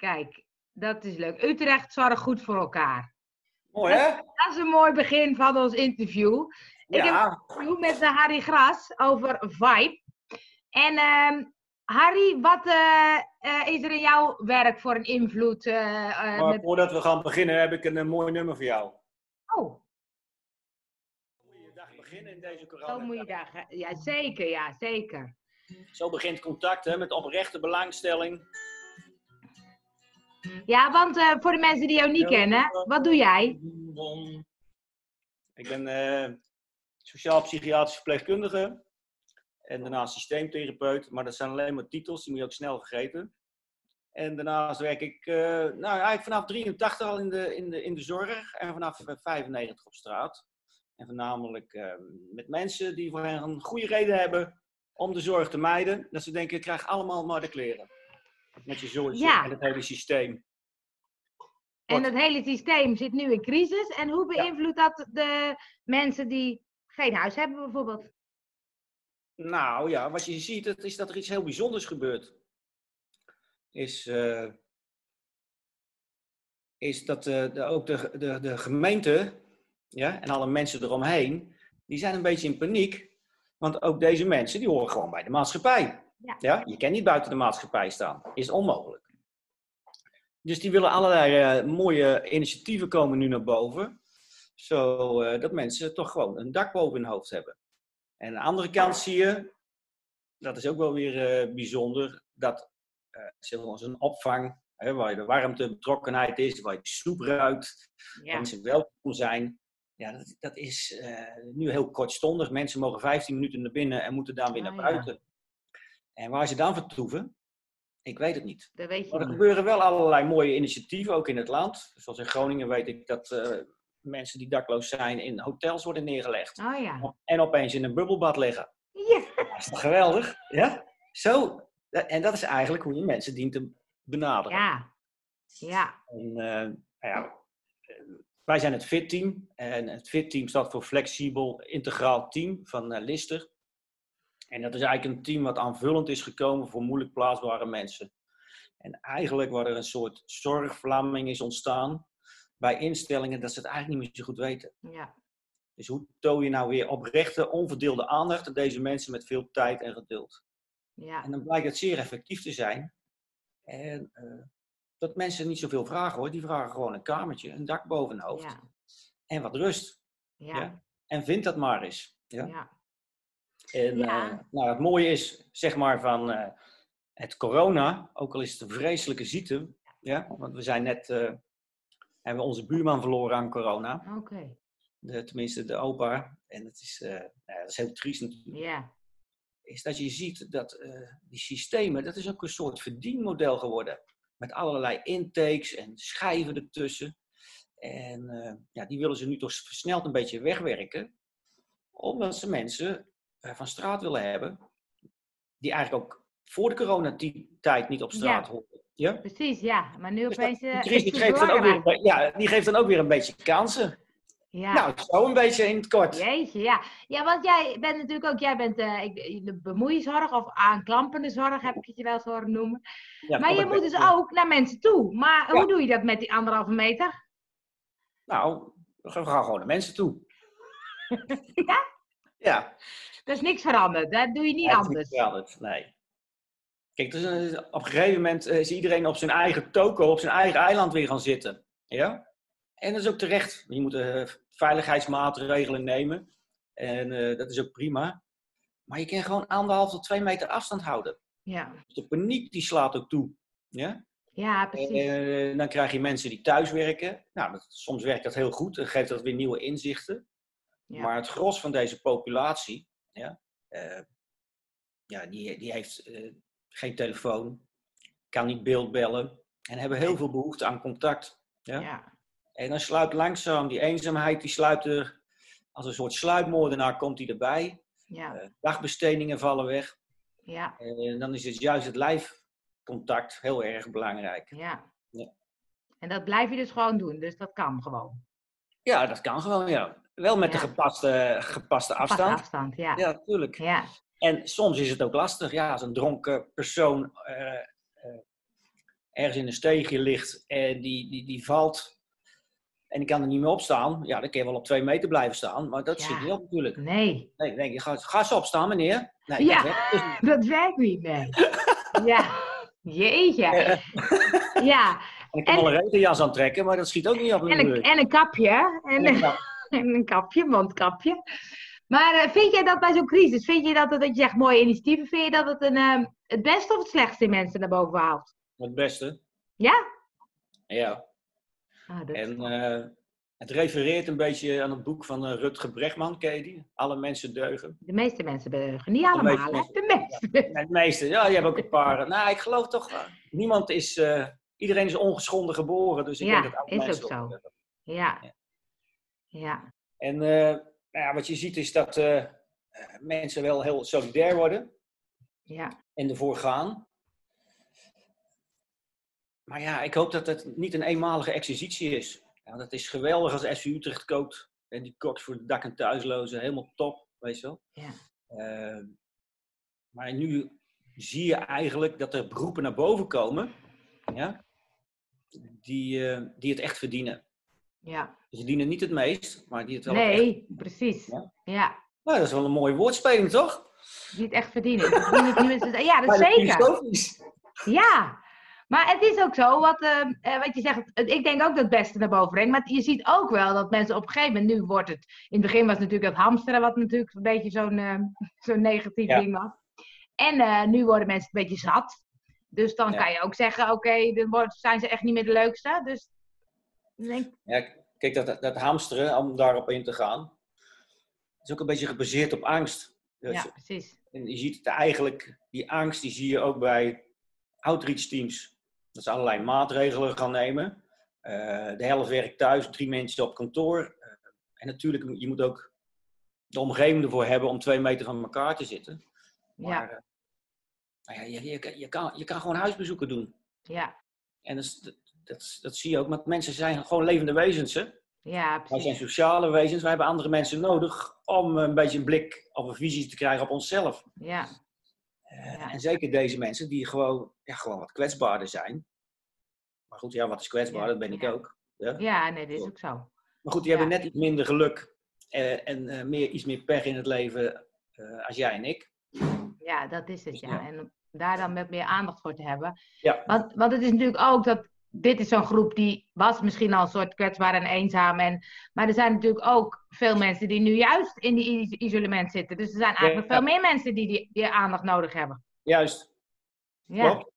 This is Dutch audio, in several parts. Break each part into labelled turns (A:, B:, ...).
A: Kijk, dat is leuk. Utrecht zorgt goed voor elkaar.
B: Mooi, hè?
A: Dat is een mooi begin van ons interview. Ik heb
B: Ja.
A: een interview met eh, Harry Gras over Vibe. En ehm, Harry, wat eh, eh, is er in jouw werk voor een invloed? eh, eh,
B: Maar
A: met...
B: voordat we gaan beginnen, heb ik een, eh, mooi nummer voor jou.
A: Oh,
B: Goeie dag beginnen in deze corona.
A: zo moet je daar. Oh, Ja, zeker, ja, zeker.
B: Zo begint contact hè, met oprechte belangstelling.
A: Ja, want eh, voor de mensen die jou niet
B: Ja,
A: kennen,
B: eh,
A: wat doe jij?
B: Ik ben eh, sociaal-psychiatrisch verpleegkundige en daarna systeemtherapeut, maar dat zijn alleen maar titels, die moet je ook snel vergeten. En daarnaast werk ik eh, nou, eigenlijk vanaf 83 al in de, in, de, in de zorg en vanaf eh, 95 op straat. En voornamelijk eh, met mensen die voor hen een goede reden hebben om de zorg te mijden. Dat ze denken, ik krijg allemaal maar de kleren. Met je zorg
A: Ja.
B: en het hele systeem.
A: En
B: Kort.
A: het hele systeem zit nu in crisis. En hoe beïnvloedt dat de mensen die geen huis hebben, bijvoorbeeld?
B: Nou ja, wat je ziet, dat is dat er iets heel bijzonders gebeurt. Is, eh, is dat eh, de, ook de, de, de gemeente ja, en alle mensen eromheen, die zijn een beetje in paniek. Want ook deze mensen, die horen gewoon bij de maatschappij.
A: Ja.
B: je kan niet buiten de maatschappij staan. Is onmogelijk. Dus die willen allerlei eh, mooie initiatieven komen nu naar boven. Zo eh, dat mensen toch gewoon een dak boven hun hoofd hebben. En aan de andere kant zie je, dat is ook wel weer eh, bijzonder, dat eh zelfs een opvang, hè, waar je de warmte, betrokkenheid is, waar je de soep ruikt, waar
A: Ja.
B: mensen welkom zijn. Ja, dat, dat is eh, nu heel kortstondig. Mensen mogen 15 minuten naar binnen en moeten dan weer
A: Ah,
B: naar
A: ja.
B: buiten. En waar ze dan vertoeven, ik weet het niet.
A: Dat weet je
B: Maar er
A: niet.
B: gebeuren wel allerlei mooie initiatieven, ook in het land. Zoals in Groningen weet ik dat eh, mensen die dakloos zijn in hotels worden neergelegd.
A: Oh ja.
B: En opeens in een bubbelbad liggen.
A: Ja.
B: Dat is toch geweldig? Ja? Zo, eh, en dat is eigenlijk hoe je mensen dient te benaderen.
A: Ja. Ja.
B: En, eh, nou ja, eh, wij zijn het FIT team. En het FIT team staat voor Flexibel Integraal Team van eh, Lister. En dat is eigenlijk een team wat aanvullend is gekomen voor moeilijk plaatsbare mensen. En eigenlijk waar er een soort zorgvlamming is ontstaan bij instellingen dat ze het eigenlijk niet meer zo goed weten.
A: ja.
B: Dus hoe toon je nou weer oprechte, onverdeelde aandacht aan deze mensen met veel tijd en geduld?
A: ja.
B: En dan blijkt het zeer effectief te zijn. En eh, dat mensen niet zoveel vragen hoor. Die vragen gewoon een kamertje, een dak boven hun hoofd.
A: Ja.
B: En wat rust.
A: Ja.
B: En vind dat maar eens. Ja?
A: Ja.
B: En
A: Ja.
B: eh, nou, het mooie is, zeg maar, van eh, het corona, ook al is het een vreselijke ziekte. Ja? Want we zijn net, eh, hebben onze buurman verloren aan corona.
A: Oké.
B: De, tenminste, de opa. En dat is, eh, nou ja, dat is heel triest natuurlijk.
A: Ja.
B: is dat je ziet dat eh, die systemen, dat is ook een soort verdienmodel geworden. Met allerlei intakes en schijven ertussen. En eh, ja, die willen ze nu toch versneld een beetje wegwerken. Omdat ze mensen eh, van straat willen hebben. Die eigenlijk ook voor de coronatijd niet op straat
A: Ja.
B: horen. Ja?
A: Precies, ja. Maar nu
B: Dus dat-
A: opeens
B: die
A: eh,
B: crisis
A: is het
B: geeft dan ook weer,
A: belangrijk.
B: een be- ja, die geeft dan ook weer een beetje kansen.
A: Ja.
B: Nou, zo een beetje in het kort.
A: Jeetje, ja. Ja, want jij bent natuurlijk ook, jij bent eh, ik, de bemoeienzorg of aanklampende zorg, heb ik het je wel eens horen noemen.
B: Ja,
A: maar
B: kan
A: je
B: ik
A: moet
B: best,
A: dus
B: ja.
A: ook naar mensen toe. Maar
B: Ja.
A: hoe doe je dat met die anderhalve meter?
B: Nou, we gaan gewoon naar mensen toe. Ja.
A: Dat is niks veranderd. Dat doe je niet
B: Ja, het is
A: anders.
B: veranderd, nee. Kijk, dus, eh, op een gegeven moment eh, is iedereen op zijn eigen toko, op zijn eigen eiland weer gaan zitten. Ja? En dat is ook terecht. Je moet eh, veiligheidsmaatregelen nemen. En eh, dat is ook prima. Maar je kan gewoon anderhalf tot twee meter afstand houden.
A: Ja.
B: Dus de paniek die slaat ook toe. Ja?
A: ja, precies.
B: Eh, dan krijg je mensen die thuis werken. Nou, dat- soms werkt dat heel goed. Dan geeft dat weer nieuwe inzichten.
A: Ja.
B: Maar het gros van deze populatie, ja, eh, ja, die, die heeft eh, geen telefoon, kan niet beeldbellen en hebben heel veel behoefte aan contact. Eh, Ja?
A: ja.
B: En dan sluipt langzaam die eenzaamheid, die sluipt er, als een soort sluipmoordenaar komt die erbij.
A: ja.
B: Eh, dagbestedingen vallen weg.
A: Ja,
B: En dan is het juist het lijfcontact heel erg belangrijk.
A: ja.
B: Ja.
A: En dat blijf je dus gewoon doen, dus dat kan gewoon.
B: Ja, dat kan gewoon, ja. Wel met
A: Ja.
B: de gepaste, gepaste
A: Pas
B: afstand.
A: afstand, ja. Ja.
B: Ja, natuurlijk.
A: Ja.
B: En soms is het ook lastig, ja, als een dronken persoon eh, eh, ergens in een steegje ligt en die, die, die valt en die kan er niet meer opstaan, ja, dan kun je wel op twee meter blijven staan, maar dat
A: Ja.
B: zit niet op natuurlijk.
A: Nee,
B: Nee, ik denk, je gaat, ga eens opstaan, meneer. Nee,
A: Ja.
B: dat werkt dus niet.
A: dat werkt niet, nee. ja, jeetje. Ja,
B: En ik kan
A: En-
B: wel een regenjas aantrekken, maar dat schiet ook niet op
A: en een,
B: natuurlijk.
A: en een kapje, hè? En,
B: En ik dacht,
A: en een kapje, mondkapje. Maar eh, vind jij dat bij zo'n crisis, vind je dat, het- dat je zegt mooie initiatieven, vind je dat het een, ehm, het beste of het slechtste in mensen naar boven haalt?
B: Het beste.
A: Ja?
B: Ja.
A: Ah, dat-
B: En eh, het refereert een beetje aan het boek van eh, Rutger Bregman, ken je die? Alle mensen deugen.
A: De meeste mensen bedeugen, niet
B: meeste
A: allemaal, hè?
B: mensen.
A: De meeste.
B: En het meeste, ja, je hebt ook een paar. eh, Nou, ik geloof toch, eh, niemand is, eh, iedereen is ongeschonden geboren, dus ik
A: Ja,
B: denk dat alle
A: is ook
B: mensen
A: zo.
B: dat-
A: Ja. Ja.
B: En eh, nou ja, wat je ziet is dat eh, mensen wel heel solidair worden
A: Ja.
B: en ervoor gaan. Maar ja, ik hoop dat het niet een eenmalige exercitie is. Ja, dat is geweldig als SU Utrecht koopt en die kookt voor de dak- en thuislozen. Helemaal top, weet je wel.
A: Ja.
B: Eh, maar nu zie je eigenlijk dat er beroepen naar boven komen ja, die, eh, die het echt verdienen.
A: Ja.
B: Ze verdienen niet het meest, maar die het wel echt
A: Nee, precies.
B: Ja.
A: Ja.
B: Nou, dat is wel een mooie woordspeling, toch?
A: Die het echt verdienen. Die verdienen het niet mensen- Ja, dat zeker. Ja, maar het is ook zo, wat, ehm, eh, wat je zegt, het- ik denk ook dat het beste naar boven brengt. Maar je ziet ook wel dat mensen op een gegeven moment, nu wordt het, in het begin was het natuurlijk dat hamsteren, wat natuurlijk een beetje zo'n ehm, zo'n negatief
B: Ja.
A: ding was. En eh, nu worden mensen een beetje zat. Dus dan
B: Ja.
A: kan je ook zeggen, oké, dan wordt- zijn ze echt niet meer de leukste. Dus ik denk,
B: Ja, kijk, dat, dat hamsteren, om daarop in te gaan, is ook een beetje gebaseerd op angst. Dus,
A: ja, precies.
B: En je ziet het eigenlijk, die angst die zie je ook bij outreach teams. Dat ze allerlei maatregelen gaan nemen. Eh, de helft werkt thuis, drie mensen op kantoor. Eh, en natuurlijk, je moet ook de omgeving ervoor hebben om twee meter van elkaar te zitten.
A: Ja,
B: Maar, eh, nou ja, je, je, je, kan, je kan gewoon huisbezoeken doen.
A: ja,
B: En dat, is- dat, dat, is- dat zie je ook, want mensen zijn gewoon levende wezens. Hè?
A: ja,
B: Wij zijn
A: precies.
B: sociale wezens, wij hebben andere mensen nodig om een beetje een blik of een visie te krijgen op onszelf.
A: Ja,
B: Eh,
A: Ja.
B: En zeker deze mensen die gewoon, ja, gewoon wat kwetsbaarder zijn. Maar goed, ja, wat is kwetsbaar?
A: Ja,
B: Dat ben ik
A: ja.
B: ook.
A: ja, nee, dat is ook zo.
B: Maar goed, die
A: Ja.
B: hebben net iets minder geluk eh, en eh, meer, iets meer pech in het leven eh, als jij en ik.
A: Ja, dat is het, ja.
B: Ja.
A: En om daar dan met meer aandacht voor te hebben.
B: Ja.
A: Want, want het is natuurlijk ook dat... Dit is zo'n groep die was misschien al een soort kwetsbaar en eenzaam. En, maar er zijn natuurlijk ook veel mensen die nu juist in die is- isolement zitten. Dus er zijn eigenlijk
B: Ja.
A: veel meer mensen die, die die aandacht nodig hebben.
B: Juist,
A: Ja,
B: klopt.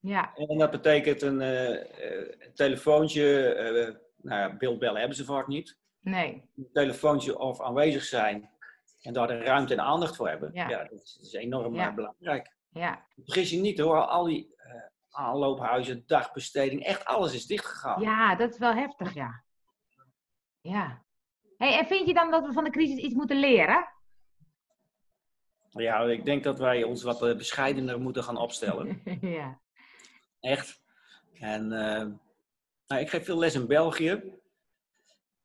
A: ja,
B: En dat betekent een eh, eh, telefoontje, eh nou ja, beeldbellen hebben ze vaak niet.
A: nee.
B: een telefoontje of aanwezig zijn en daar de ruimte en aandacht voor hebben,
A: Ja.
B: ja, dat, is, dat is enorm
A: Ja.
B: eh, belangrijk.
A: Ja,
B: Vergis je niet hoor, al die eh, aanloophuizen, dagbesteding, echt alles is dichtgegaan.
A: ja, dat is wel heftig, ja. Ja. Hey, en vind je dan dat we van de crisis iets moeten leren?
B: Ja, ik denk dat wij ons wat eh, bescheidener moeten gaan opstellen.
A: ja.
B: Echt. En eh, nou, ik geef veel les in België.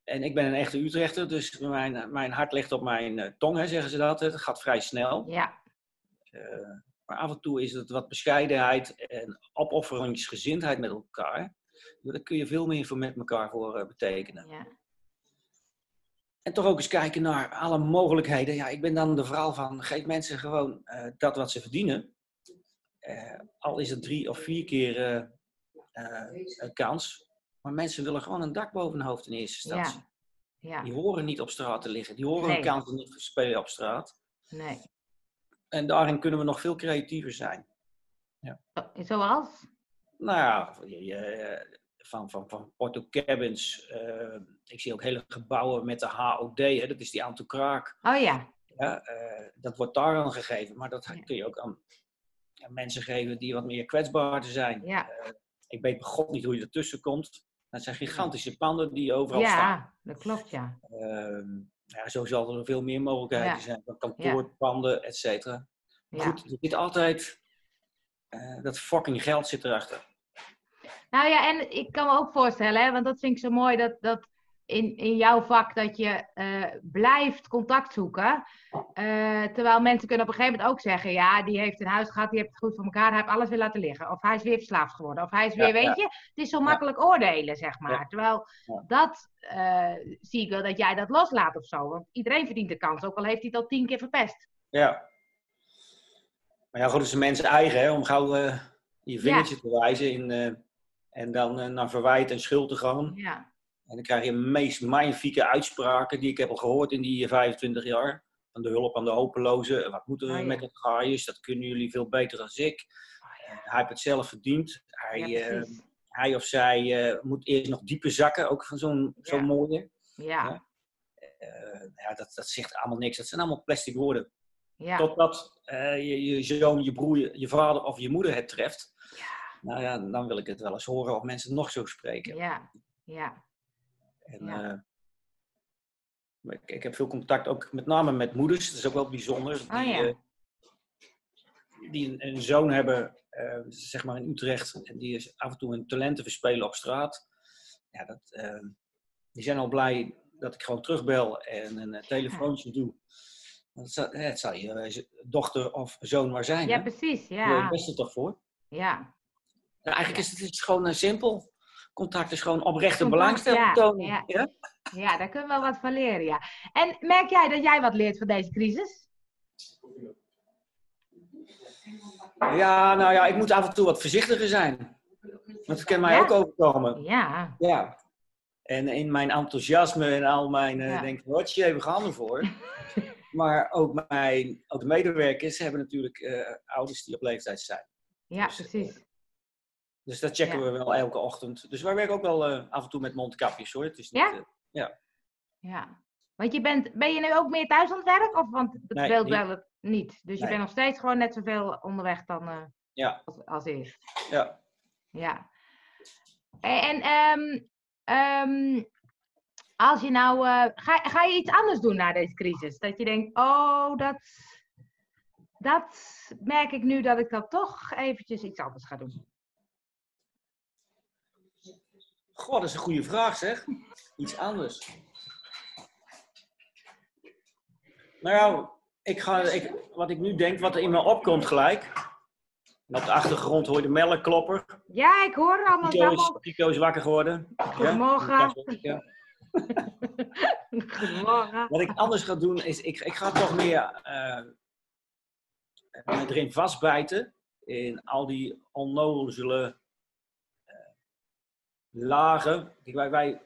B: En ik ben een echte Utrechter, dus mijn, mijn hart ligt op mijn eh, tong, hè, zeggen ze dat. Het gaat vrij snel.
A: Ja,
B: Eh, maar af en toe is het wat bescheidenheid en opofferingsgezindheid met elkaar. Daar kun je veel meer voor met elkaar voor eh, betekenen.
A: ja,
B: En toch ook eens kijken naar alle mogelijkheden. Ja, ik ben dan de verhaal van, geef mensen gewoon eh, dat wat ze verdienen. Eh, al is het drie of vier keer eh, eh, een kans. Maar mensen willen gewoon een dak boven hun hoofd in eerste
A: Ja.
B: instantie.
A: ja.
B: Die horen niet op straat te liggen. Die horen
A: Nee.
B: hun kansen niet verspelen op straat.
A: Nee.
B: En daarin kunnen we nog veel creatiever zijn.
A: Zo- Zoals?
B: Nou ja, je- je- van, van, van Porto Cabins. eh, ik zie ook hele gebouwen met de HOD, hè, dat is die aan kraak.
A: Oh ja,
B: Ja, eh, dat wordt daar aan gegeven, maar dat
A: Ja.
B: kun je ook aan, aan mensen geven die wat meer kwetsbaarder zijn.
A: ja.
B: Ik weet bij god niet hoe je ertussen komt. Dat zijn gigantische panden die overal staan.
A: Ja, dat klopt, ja.
B: Ehm, ja, zo zal er veel meer mogelijkheden
A: Ja.
B: zijn van kantoorpanden, et cetera. Maar
A: ja.
B: Goed, er zit altijd eh, dat fucking geld zit erachter.
A: Nou ja, en ik kan me ook voorstellen, hè, want dat vind ik zo mooi, dat, dat in, in jouw vak dat je eh, blijft contact zoeken. Eh, terwijl mensen kunnen op een gegeven moment ook zeggen: ja, die heeft een huis gehad, die heeft het goed voor elkaar, hij heeft alles weer laten liggen. Of hij is weer verslaafd geworden. Of hij is weer,
B: Ja,
A: weet
B: ja.
A: je, het is zo
B: Ja.
A: makkelijk oordelen, zeg maar.
B: Ja.
A: Terwijl
B: Ja.
A: dat eh, zie ik wel dat jij dat loslaat of zo. Want iedereen verdient de kans, ook al heeft hij het al tien keer verpest.
B: Ja. Maar ja, goed, het is een mens eigen hè, om gauw eh, je vingertje te wijzen in, eh, en dan eh, naar verwijt en schuld te gaan.
A: Ja,
B: En dan krijg je de meest magnifieke uitspraken die ik heb al gehoord in die 25 jaar. Van de hulp aan de hopelozen. En Wat moeten we
A: Ah, ja.
B: met het gaaiers? Dat kunnen jullie veel beter dan ik. Eh, Hij heeft het zelf verdiend. Hij,
A: Ah, ja
B: eh,
A: precies.
B: hij of zij eh, moet eerst nog dieper zakken, ook van zo'n
A: Ja.
B: zo'n mooie.
A: Ja,
B: Eh, ja, dat, dat zegt allemaal niks. Dat zijn allemaal plastic woorden.
A: ja.
B: Totdat eh, je, je zoon, je broer, je, je vader of je moeder het treft. Nou ja, dan wil ik het wel eens horen of mensen nog zo spreken.
A: Ja, ja,
B: En,
A: Ja.
B: eh, maar ik, ik heb veel contact ook met name met moeders. Dat is ook wel bijzonder. Die,
A: Ah, ja.
B: eh, die een, een zoon hebben, eh, zeg maar in Utrecht. En die is af en toe hun talenten verspelen op straat. Ja, dat, eh, die zijn al blij dat ik gewoon terugbel en een eh, telefoontje doe. Dat zou, het zou je eh, z- dochter of zoon maar zijn.
A: ja
B: hè?
A: precies.
B: Daar doe je
A: Ja,
B: het beste toch voor?
A: ja.
B: Nou, eigenlijk
A: Ja.
B: is het, het is gewoon eh, simpel. Contact is gewoon oprechte
A: Contact,
B: belangstelling
A: ja,
B: tonen.
A: ja.
B: Ja?
A: ja, daar kunnen we wel wat van leren. Ja. En merk jij dat jij wat leert van deze crisis?
B: Ja, nou ja, ik moet af en toe wat voorzichtiger zijn. Want het kan mij
A: Ja?
B: ook overkomen.
A: Ja,
B: Ja. En in mijn enthousiasme en al mijn, eh
A: Ja.
B: denk ik, wat je even gaan ervoor. maar ook, mijn, ook de medewerkers hebben natuurlijk eh, ouders die op leeftijd zijn.
A: ja,
B: Dus, eh,
A: precies.
B: Dus dat checken
A: Ja.
B: we wel elke ochtend. Dus wij werken ook wel eh, af en toe met mondkapjes hoor. Het is niet,
A: Ja?
B: eh,
A: Ja. Want je bent, ben je nu ook meer thuis aan het werk? Of, want dat
B: Nee,
A: speelt
B: niet.
A: wel het- niet. Dus je
B: Nee.
A: bent nog steeds gewoon net zoveel onderweg dan eh,
B: Ja.
A: als, als eerst.
B: ja.
A: Ja. En, en ehm, ehm, als je nou, eh, ga, ga je iets anders doen na deze crisis? Dat je denkt, oh, dat, dat merk ik nu dat ik dat toch eventjes iets anders ga doen.
B: Goh, dat is een goede vraag zeg. Iets anders. Nou ja, ik ga, ik, wat ik nu denk, wat er in me opkomt gelijk. En op de achtergrond hoor je de melkklopper.
A: Ja, ik hoor allemaal.
B: Pico is,
A: allemaal-
B: Pico is wakker geworden. Ja?
A: Goedemorgen.
B: Ja.
A: Goedemorgen.
B: Wat ik anders ga doen is, ik, ik ga toch meer eh, mij erin vastbijten in al die onnozele eh, lagen. Kijk, wij, wij,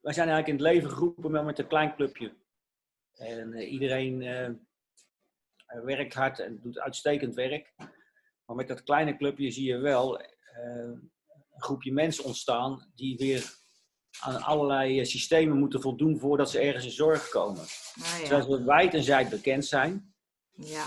B: wij zijn eigenlijk in het leven geroepen maar met een klein clubje. En eh, iedereen eh, werkt hard en doet uitstekend werk. Maar met dat kleine clubje zie je wel eh, een groepje mensen ontstaan die weer aan allerlei eh, systemen moeten voldoen voordat ze ergens in zorg komen.
A: Nou ja,
B: Zodat we wijd en zijd bekend zijn,
A: ja,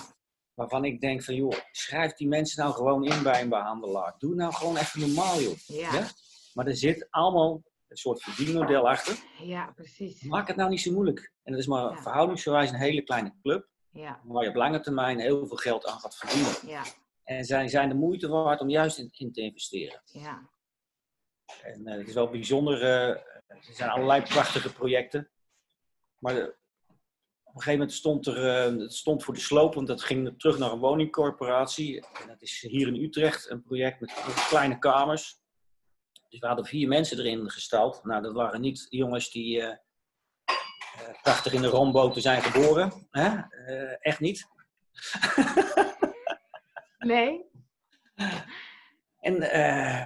B: waarvan ik denk van joh, schrijf die mensen nou gewoon in bij een behandelaar. Doe nou gewoon even normaal joh.
A: ja,
B: Maar er zit allemaal een soort verdienmodel achter.
A: ja, precies.
B: Maak het nou niet zo moeilijk. En dat is maar
A: Ja.
B: verhoudingsgewijs een hele kleine club,
A: Ja,
B: waar je op lange termijn heel veel geld aan gaat verdienen.
A: ja,
B: En zij zijn de moeite waard om juist in, in te investeren.
A: ja,
B: En eh, het is wel bijzonder. eh, er zijn allerlei prachtige projecten. Maar eh, op een gegeven moment stond er, eh, het stond voor de sloop, want dat ging terug naar een woningcorporatie. En dat is hier in Utrecht een project met kleine kamers. Dus we hadden vier mensen erin gestald. Nou, dat waren niet jongens die eh, eh, prachtig in de romboten zijn geboren. Hè? Eh, echt niet.
A: Nee?
B: En eh,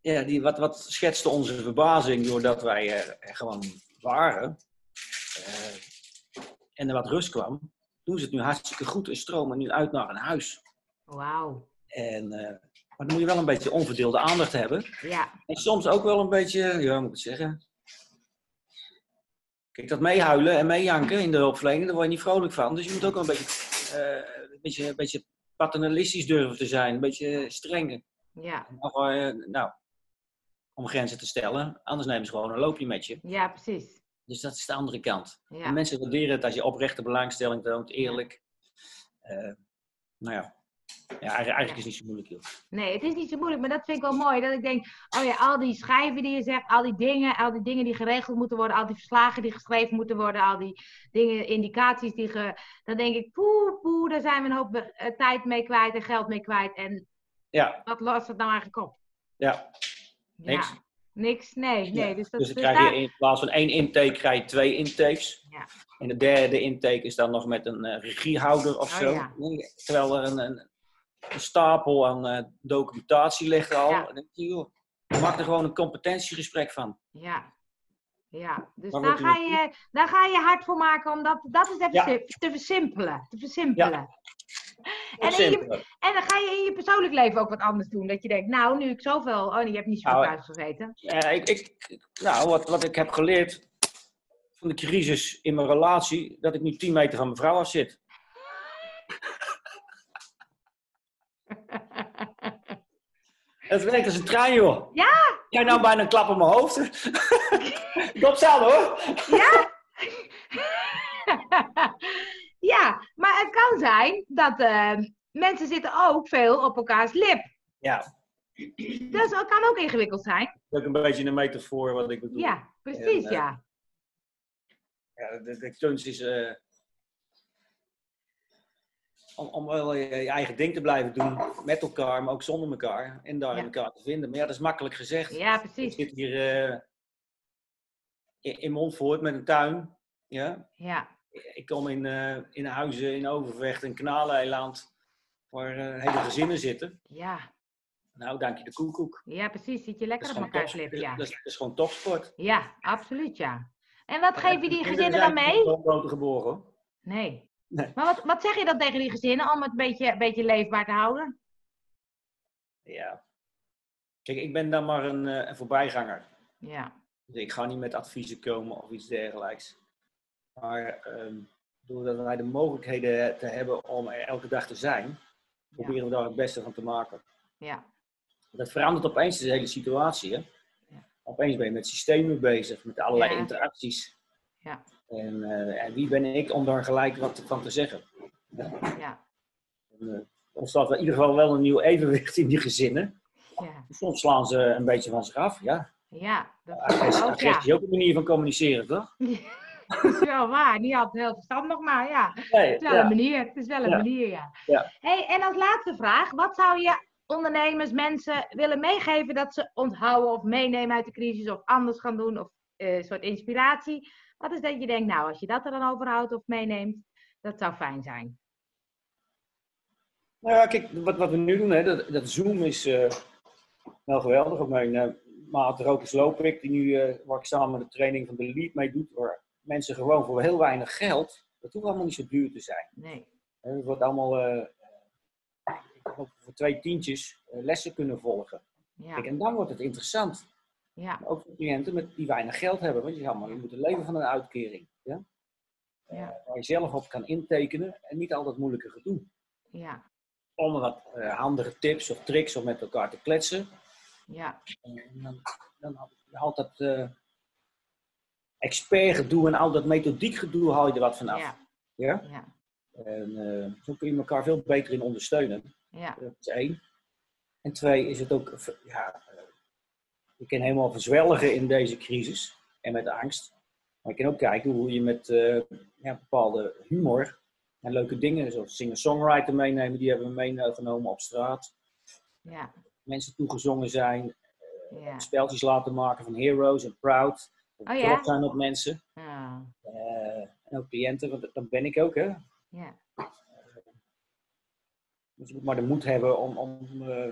B: ja, die, wat, wat schetste onze verbazing doordat wij er, er gewoon waren eh, en er wat rust kwam, doen ze het nu hartstikke goed en stromen nu uit naar een huis.
A: Wauw.
B: En, eh, maar dan moet je wel een beetje onverdeelde aandacht hebben.
A: Ja,
B: En soms ook wel een beetje, ja, hoe moet ik het zeggen. Kijk, dat meehuilen en meejanken in de hulpverlening, daar word je niet vrolijk van. Dus je moet ook wel een beetje, eh, een beetje, een beetje paternalistisch durven te zijn, een beetje streng.
A: ja,
B: Of, eh, nou, om grenzen te stellen. Anders nemen ze gewoon een loopje met je.
A: ja, precies.
B: Dus dat is de andere kant. En
A: Ja,
B: mensen waarderen het als je oprechte belangstelling toont, eerlijk. Eh, nou ja, Ja, eigenlijk eigenlijk is het niet zo moeilijk, joh.
A: Nee, het is niet zo moeilijk, maar dat vind ik wel mooi. Dat ik denk, oh ja, al die schrijven die je zegt, al die dingen, al die dingen die geregeld moeten worden, al die verslagen die geschreven moeten worden, al die dingen, indicaties die ge... Dan denk ik, poe, poe, daar zijn we een hoop eh, tijd mee kwijt en geld mee kwijt. En
B: Ja,
A: wat lost dat nou eigenlijk op?
B: ja. Niks.
A: Ja, niks, nee, nee.
B: Ja,
A: Dus, dat,
B: Dus dan
A: dus
B: krijg
A: daar-
B: je in plaats van één intake, krijg je twee intakes.
A: Ja.
B: En de derde intake is dan nog met een eh, regiehouder of
A: Oh,
B: zo.
A: ja.
B: Terwijl er een, een, een stapel aan eh, documentatie ligt al.
A: Ja.
B: Dan denk je, joh, maak er gewoon een competentiegesprek van.
A: Ja. Ja, dus
B: Maar
A: daar
B: wordt
A: ga,
B: u-
A: je, daar ga je hard voor maken om dat, dat is even
B: Ja.
A: sim- te versimpelen. Te versimpelen. En, in je,
B: Simpel.
A: en dan ga je in je persoonlijk leven ook wat anders doen. Dat je denkt, nou, nu ik zoveel... Oh, nee, je hebt niet zoveel
B: Nou,
A: thuis gezeten.
B: Eh, ik, ik, nou, wat, wat ik heb geleerd van de crisis in mijn relatie, dat ik nu 10 meter van mijn vrouw af zit. Het werkt als een trein, joh.
A: Ja.
B: Ik krijg nou bijna een klap op mijn hoofd. ik opstaan, hoor.
A: Ja? ja, maar het kan zijn dat eh, mensen zitten ook veel op elkaars lip.
B: Ja,
A: Dus dat kan ook ingewikkeld zijn.
B: dat is ook een beetje een metafoor wat ik bedoel.
A: Ja, precies,
B: En, eh,
A: ja.
B: Ja, de, de kunst is eh, om, om wel je, je eigen ding te blijven doen met elkaar, maar ook zonder elkaar. En daar
A: Ja.
B: elkaar te vinden. Maar ja, dat is makkelijk gezegd.
A: Ja,
B: Ik
A: precies.
B: zit hier eh, in, in Montfort met een tuin. Ja?
A: Ja,
B: Ik kom in, eh, in huizen in Overvecht en Kanaleiland waar eh, hele gezinnen zitten.
A: ja.
B: Nou, dank je de koekoek.
A: Ja, precies. Zit je lekker op
B: gewoon
A: elkaars lip,
B: topsport.
A: ja.
B: Dat, is, dat is gewoon topsport.
A: Ja, absoluut ja. En wat geef je die
B: Kinderen
A: gezinnen dan
B: zijn
A: mee?
B: niet op boter geboren hoor.
A: Nee.
B: Nee.
A: Maar wat, wat zeg je dan tegen die gezinnen om het een beetje, een beetje leefbaar te houden?
B: Ja. Kijk, ik ben dan maar een, eh, een voorbijganger.
A: Ja,
B: Dus ik ga niet met adviezen komen of iets dergelijks. Maar ehm, doordat wij de mogelijkheden te hebben om er elke dag te zijn, proberen we daar het beste van te maken.
A: ja,
B: Dat verandert opeens de hele situatie. Hè?
A: Ja.
B: Opeens ben je met systemen bezig, met allerlei
A: Ja.
B: interacties.
A: Ja.
B: En, eh, en wie ben ik om daar gelijk wat van te zeggen?
A: ja,
B: En, eh, ontstaat er in ieder geval wel een nieuw evenwicht in die gezinnen.
A: ja.
B: Soms slaan ze een beetje van zich af. Ja.
A: Ja, dat
B: Agressie,
A: ook, Oh, ja.
B: agressie is ook een manier van communiceren, toch?
A: is wel waar. Niet altijd heel verstandig, maar ja. Het
B: Nee,
A: is wel een
B: ja.
A: manier. Het is wel een
B: Ja.
A: manier, ja.
B: Ja.
A: Hey, en als laatste vraag. Wat zou je ondernemers, mensen willen meegeven dat ze onthouden of meenemen uit de crisis of anders gaan doen of eh, een soort inspiratie? Wat is dat je denkt, nou, als je dat er dan overhoudt of meeneemt, dat zou fijn zijn.
B: Nou ja, kijk, wat, wat we nu doen, hè, dat, dat Zoom is eh, wel geweldig. Ook mijn eh maat Rokus Lopik, die nu, eh, waar ik samen de training van de Lead mee doet, waar mensen gewoon voor heel weinig geld, dat hoeft allemaal niet zo duur te zijn.
A: Nee.
B: Hè, Het wordt allemaal eh, ik geloof voor twee tientjes eh, lessen kunnen volgen.
A: Ja,
B: Kijk, en dan wordt het interessant.
A: ja,
B: Maar Ook voor cliënten met, die weinig geld hebben, want je, gaat maar, je moet leven van een uitkering. Ja? Eh,
A: ja,
B: Waar je zelf op kan intekenen en niet al dat moeilijke gedoe.
A: ja,
B: om wat eh, handige tips of tricks om met elkaar te kletsen. Eh,
A: ja,
B: En dan, dan haalt dat eh expertgedoe en al dat methodiek gedoe haal je er wat vanaf.
A: ja,
B: Ja?
A: ja,
B: En eh, zo kun je elkaar veel beter in ondersteunen.
A: ja,
B: Dat is één. En twee is het ook, v- ja, eh, je kan helemaal verzwelgen in deze crisis en met angst. Maar je kan ook kijken hoe je met eh, ja, bepaalde humor en leuke dingen, zoals singer-songwriter meenemen, die hebben we meegenomen op straat
A: ja,
B: mensen toegezongen zijn,
A: ja.
B: speltjes laten maken van heroes en proud. Of
A: Oh ja?
B: trots zijn op mensen.
A: Ah,
B: Eh, en ook cliënten, want dat- dat ben ik ook, hè.
A: ja,
B: Dus je moet maar de moed hebben om... om eh,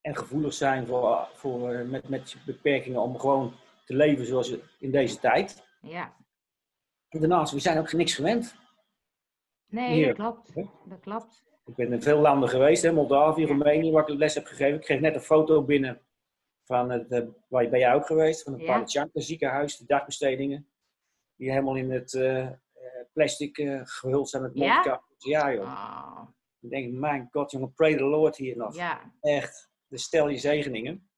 B: en gevoelig zijn voor, voor, eh, met, met je beperkingen om gewoon te leven zoals het- in deze tijd.
A: ja.
B: En daarnaast, we zijn ook niks gewend.
A: Nee,
B: Hier.
A: dat klopt.
B: Hè?
A: Dat klopt.
B: Ik ben in veel landen geweest, hè, Moldavië,
A: Ja.
B: Roemenië, waar ik les heb gegeven. Ik kreeg net een foto binnen van het, eh, waar je- ben jij ook geweest, van het
A: Ja.
B: ja. ziekenhuis, de dagbestedingen. Die helemaal in het eh, eh, plastic eh, gehuld zijn met
A: Ja?
B: mondkapjes. Ja? joh.
A: Oh,
B: Ik denk, mijn god jongen, pray the Lord hier nog.
A: ja,
B: Echt, dus stel je zegeningen.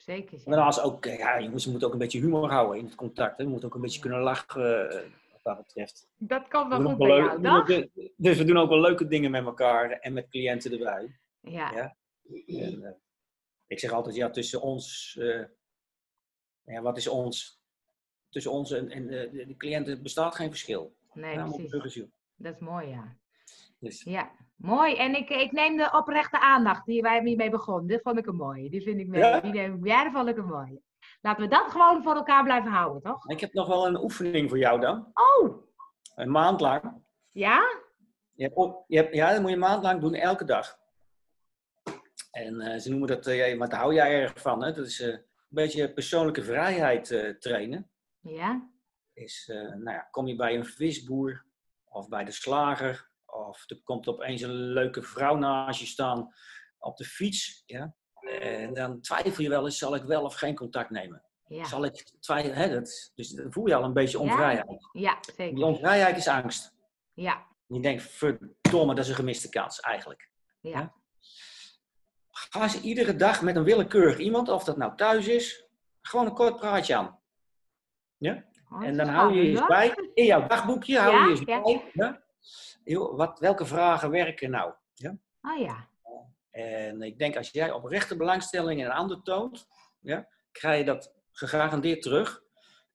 A: zeker.
B: Nou, En daarnaast ook, eh, ja jongens, je moet ook een beetje humor houden in het contact. Hè. Je moet ook een beetje kunnen lachen. eh, wat dat betreft.
A: Dat kan wel
B: We doen
A: goed
B: ook
A: bij
B: wel
A: jou, dag.
B: leuk- we doen ook- Dus we doen ook wel leuke dingen met elkaar en met cliënten erbij.
A: Ja.
B: Ja. En, eh, ik zeg altijd, ja, tussen ons, eh, ja, wat is ons? Tussen ons en, en eh, de, de cliënten bestaat geen verschil.
A: nee,
B: Daarom op
A: precies.
B: burgers, joh.
A: Dat is mooi, ja.
B: Dus,
A: Ja, mooi. En ik, ik neem de oprechte aandacht die wij hiermee begonnen. Dit vond ik een mooie. Die vind ik mee.
B: Ja?
A: Die neem ik, ja, dat vond ik een mooie. Laten we dat gewoon voor elkaar blijven houden, toch?
B: ik heb nog wel een oefening voor jou dan.
A: Oh,
B: Een maand lang.
A: ja?
B: Je hebt, op- je hebt, ja, dat moet je een maand lang doen, elke dag. En eh, ze noemen dat, eh, ja, maar daar hou jij erg van, hè? Dat is eh, een beetje persoonlijke vrijheid eh, trainen.
A: Ja?
B: is, eh, nou ja, kom je bij een visboer of bij de slager of er komt opeens een leuke vrouw naast je staan op de fiets. Ja? En dan twijfel je wel eens, zal ik wel of geen contact nemen?
A: Ja,
B: Zal ik twijfelen? Hè, dat, dus dan voel je al een beetje
A: Ja.
B: onvrijheid.
A: ja
B: Die
A: zeker.
B: onvrijheid is angst.
A: Ja,
B: Je denkt, verdomme, dat is een gemiste kans eigenlijk.
A: ja.
B: Ga eens iedere dag met een willekeurig iemand, of dat nou thuis is, gewoon een kort praatje aan.
A: Oh,
B: En
A: dat
B: dan
A: is
B: hou je je
A: spannend,
B: eens
A: hoor.
B: bij. In jouw dagboekje hou
A: Ja,
B: je je eens
A: ja.
B: bij. Ja? Joh, wat, welke vragen werken nou? Ja?
A: Oh ja.
B: En ik denk als jij oprechte belangstelling en een ander toont, ja, krijg je dat gegarandeerd terug.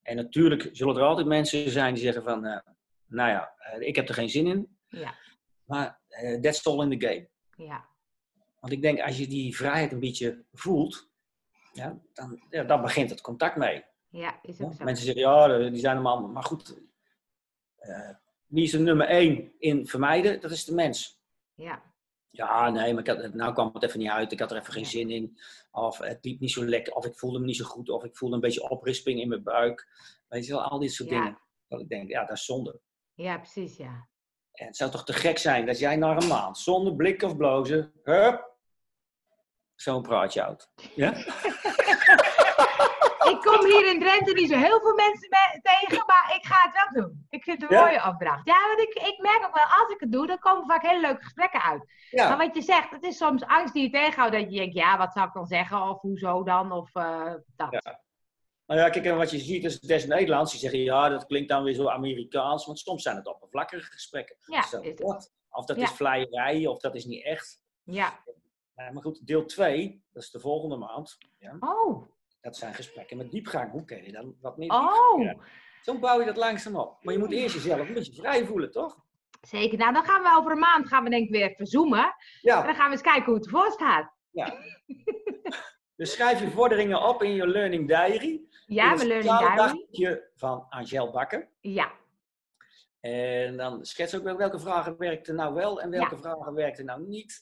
B: En natuurlijk zullen er altijd mensen zijn die zeggen van, eh, nou ja, eh, ik heb er geen zin in.
A: Ja.
B: Maar eh, that's all in the game.
A: Ja,
B: Want ik denk als je die vrijheid een beetje voelt, ja, dan, ja, dan begint het contact mee.
A: ja, is
B: Ja,
A: ook zo.
B: Mensen zeggen, ja, eh, die zijn allemaal... Maar goed, eh, wie is de nummer één in vermijden? Dat is de mens.
A: Ja,
B: Ja, nee, maar ik had, nou kwam het even niet uit. Ik had er even geen
A: Ja.
B: zin in. Of het liep niet zo lekker. Of ik voelde me niet zo goed. Of ik voelde een beetje oprisping in mijn buik. Weet je wel, al dit soort
A: Ja.
B: dingen. Dat ik denk, ja, dat is zonde.
A: ja, precies, ja.
B: En het zou toch te gek zijn dat jij na een maand, zonder blik of blozen, hup, zo'n praatje houdt. Ja?
A: Ik kom hier in Drenthe niet zo heel veel mensen me- tegen, maar ik ga het wel doen. Ik vind het een
B: Ja?
A: mooie opdracht. Ja, want ik, ik merk ook wel, als ik het doe, dan komen vaak hele leuke gesprekken uit.
B: Ja.
A: Maar wat je zegt, het is soms angst die je tegenhoudt. Dat je denkt, ja, wat zou ik dan zeggen? Of hoezo dan? Of eh, dat.
B: Ja. Nou ja, kijk, en wat je ziet is des Nederlands, die zeggen ja, dat klinkt dan weer zo Amerikaans, want soms zijn het oppervlakkige gesprekken.
A: Ja,
B: Zo,
A: is het.
B: wat? Of dat
A: Ja.
B: is vleierij, of dat is niet echt.
A: Ja.
B: Eh, maar goed, deel 2, dat is de volgende maand,
A: Oh.
B: dat zijn gesprekken met diepgang. Hoe kun je dan wat meer diepgang
A: Oh.
B: krijgen? Zo bouw je dat langzaam op. Maar je moet eerst jezelf een beetje vrij voelen, toch?
A: Zeker. Nou, dan gaan we over een maand gaan we denk ik weer verzoomen. En
B: Ja,
A: dan gaan we eens kijken hoe het ervoor staat.
B: dus schrijf je vorderingen op in je learning diary.
A: Ja, we
B: In het
A: learning diary.
B: sociale dagboekje van Angel Bakker.
A: Ja.
B: En dan schets ook wel welke vragen werkten nou wel en welke vragen werkten nou niet.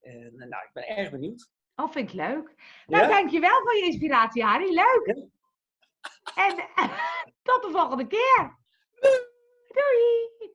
B: En, eh, nou, ik ben erg benieuwd.
A: Oh, vind ik leuk. Nou,
B: Ja?
A: dankjewel voor je inspiratie, Harry. Leuk. En tot de volgende keer. Doei.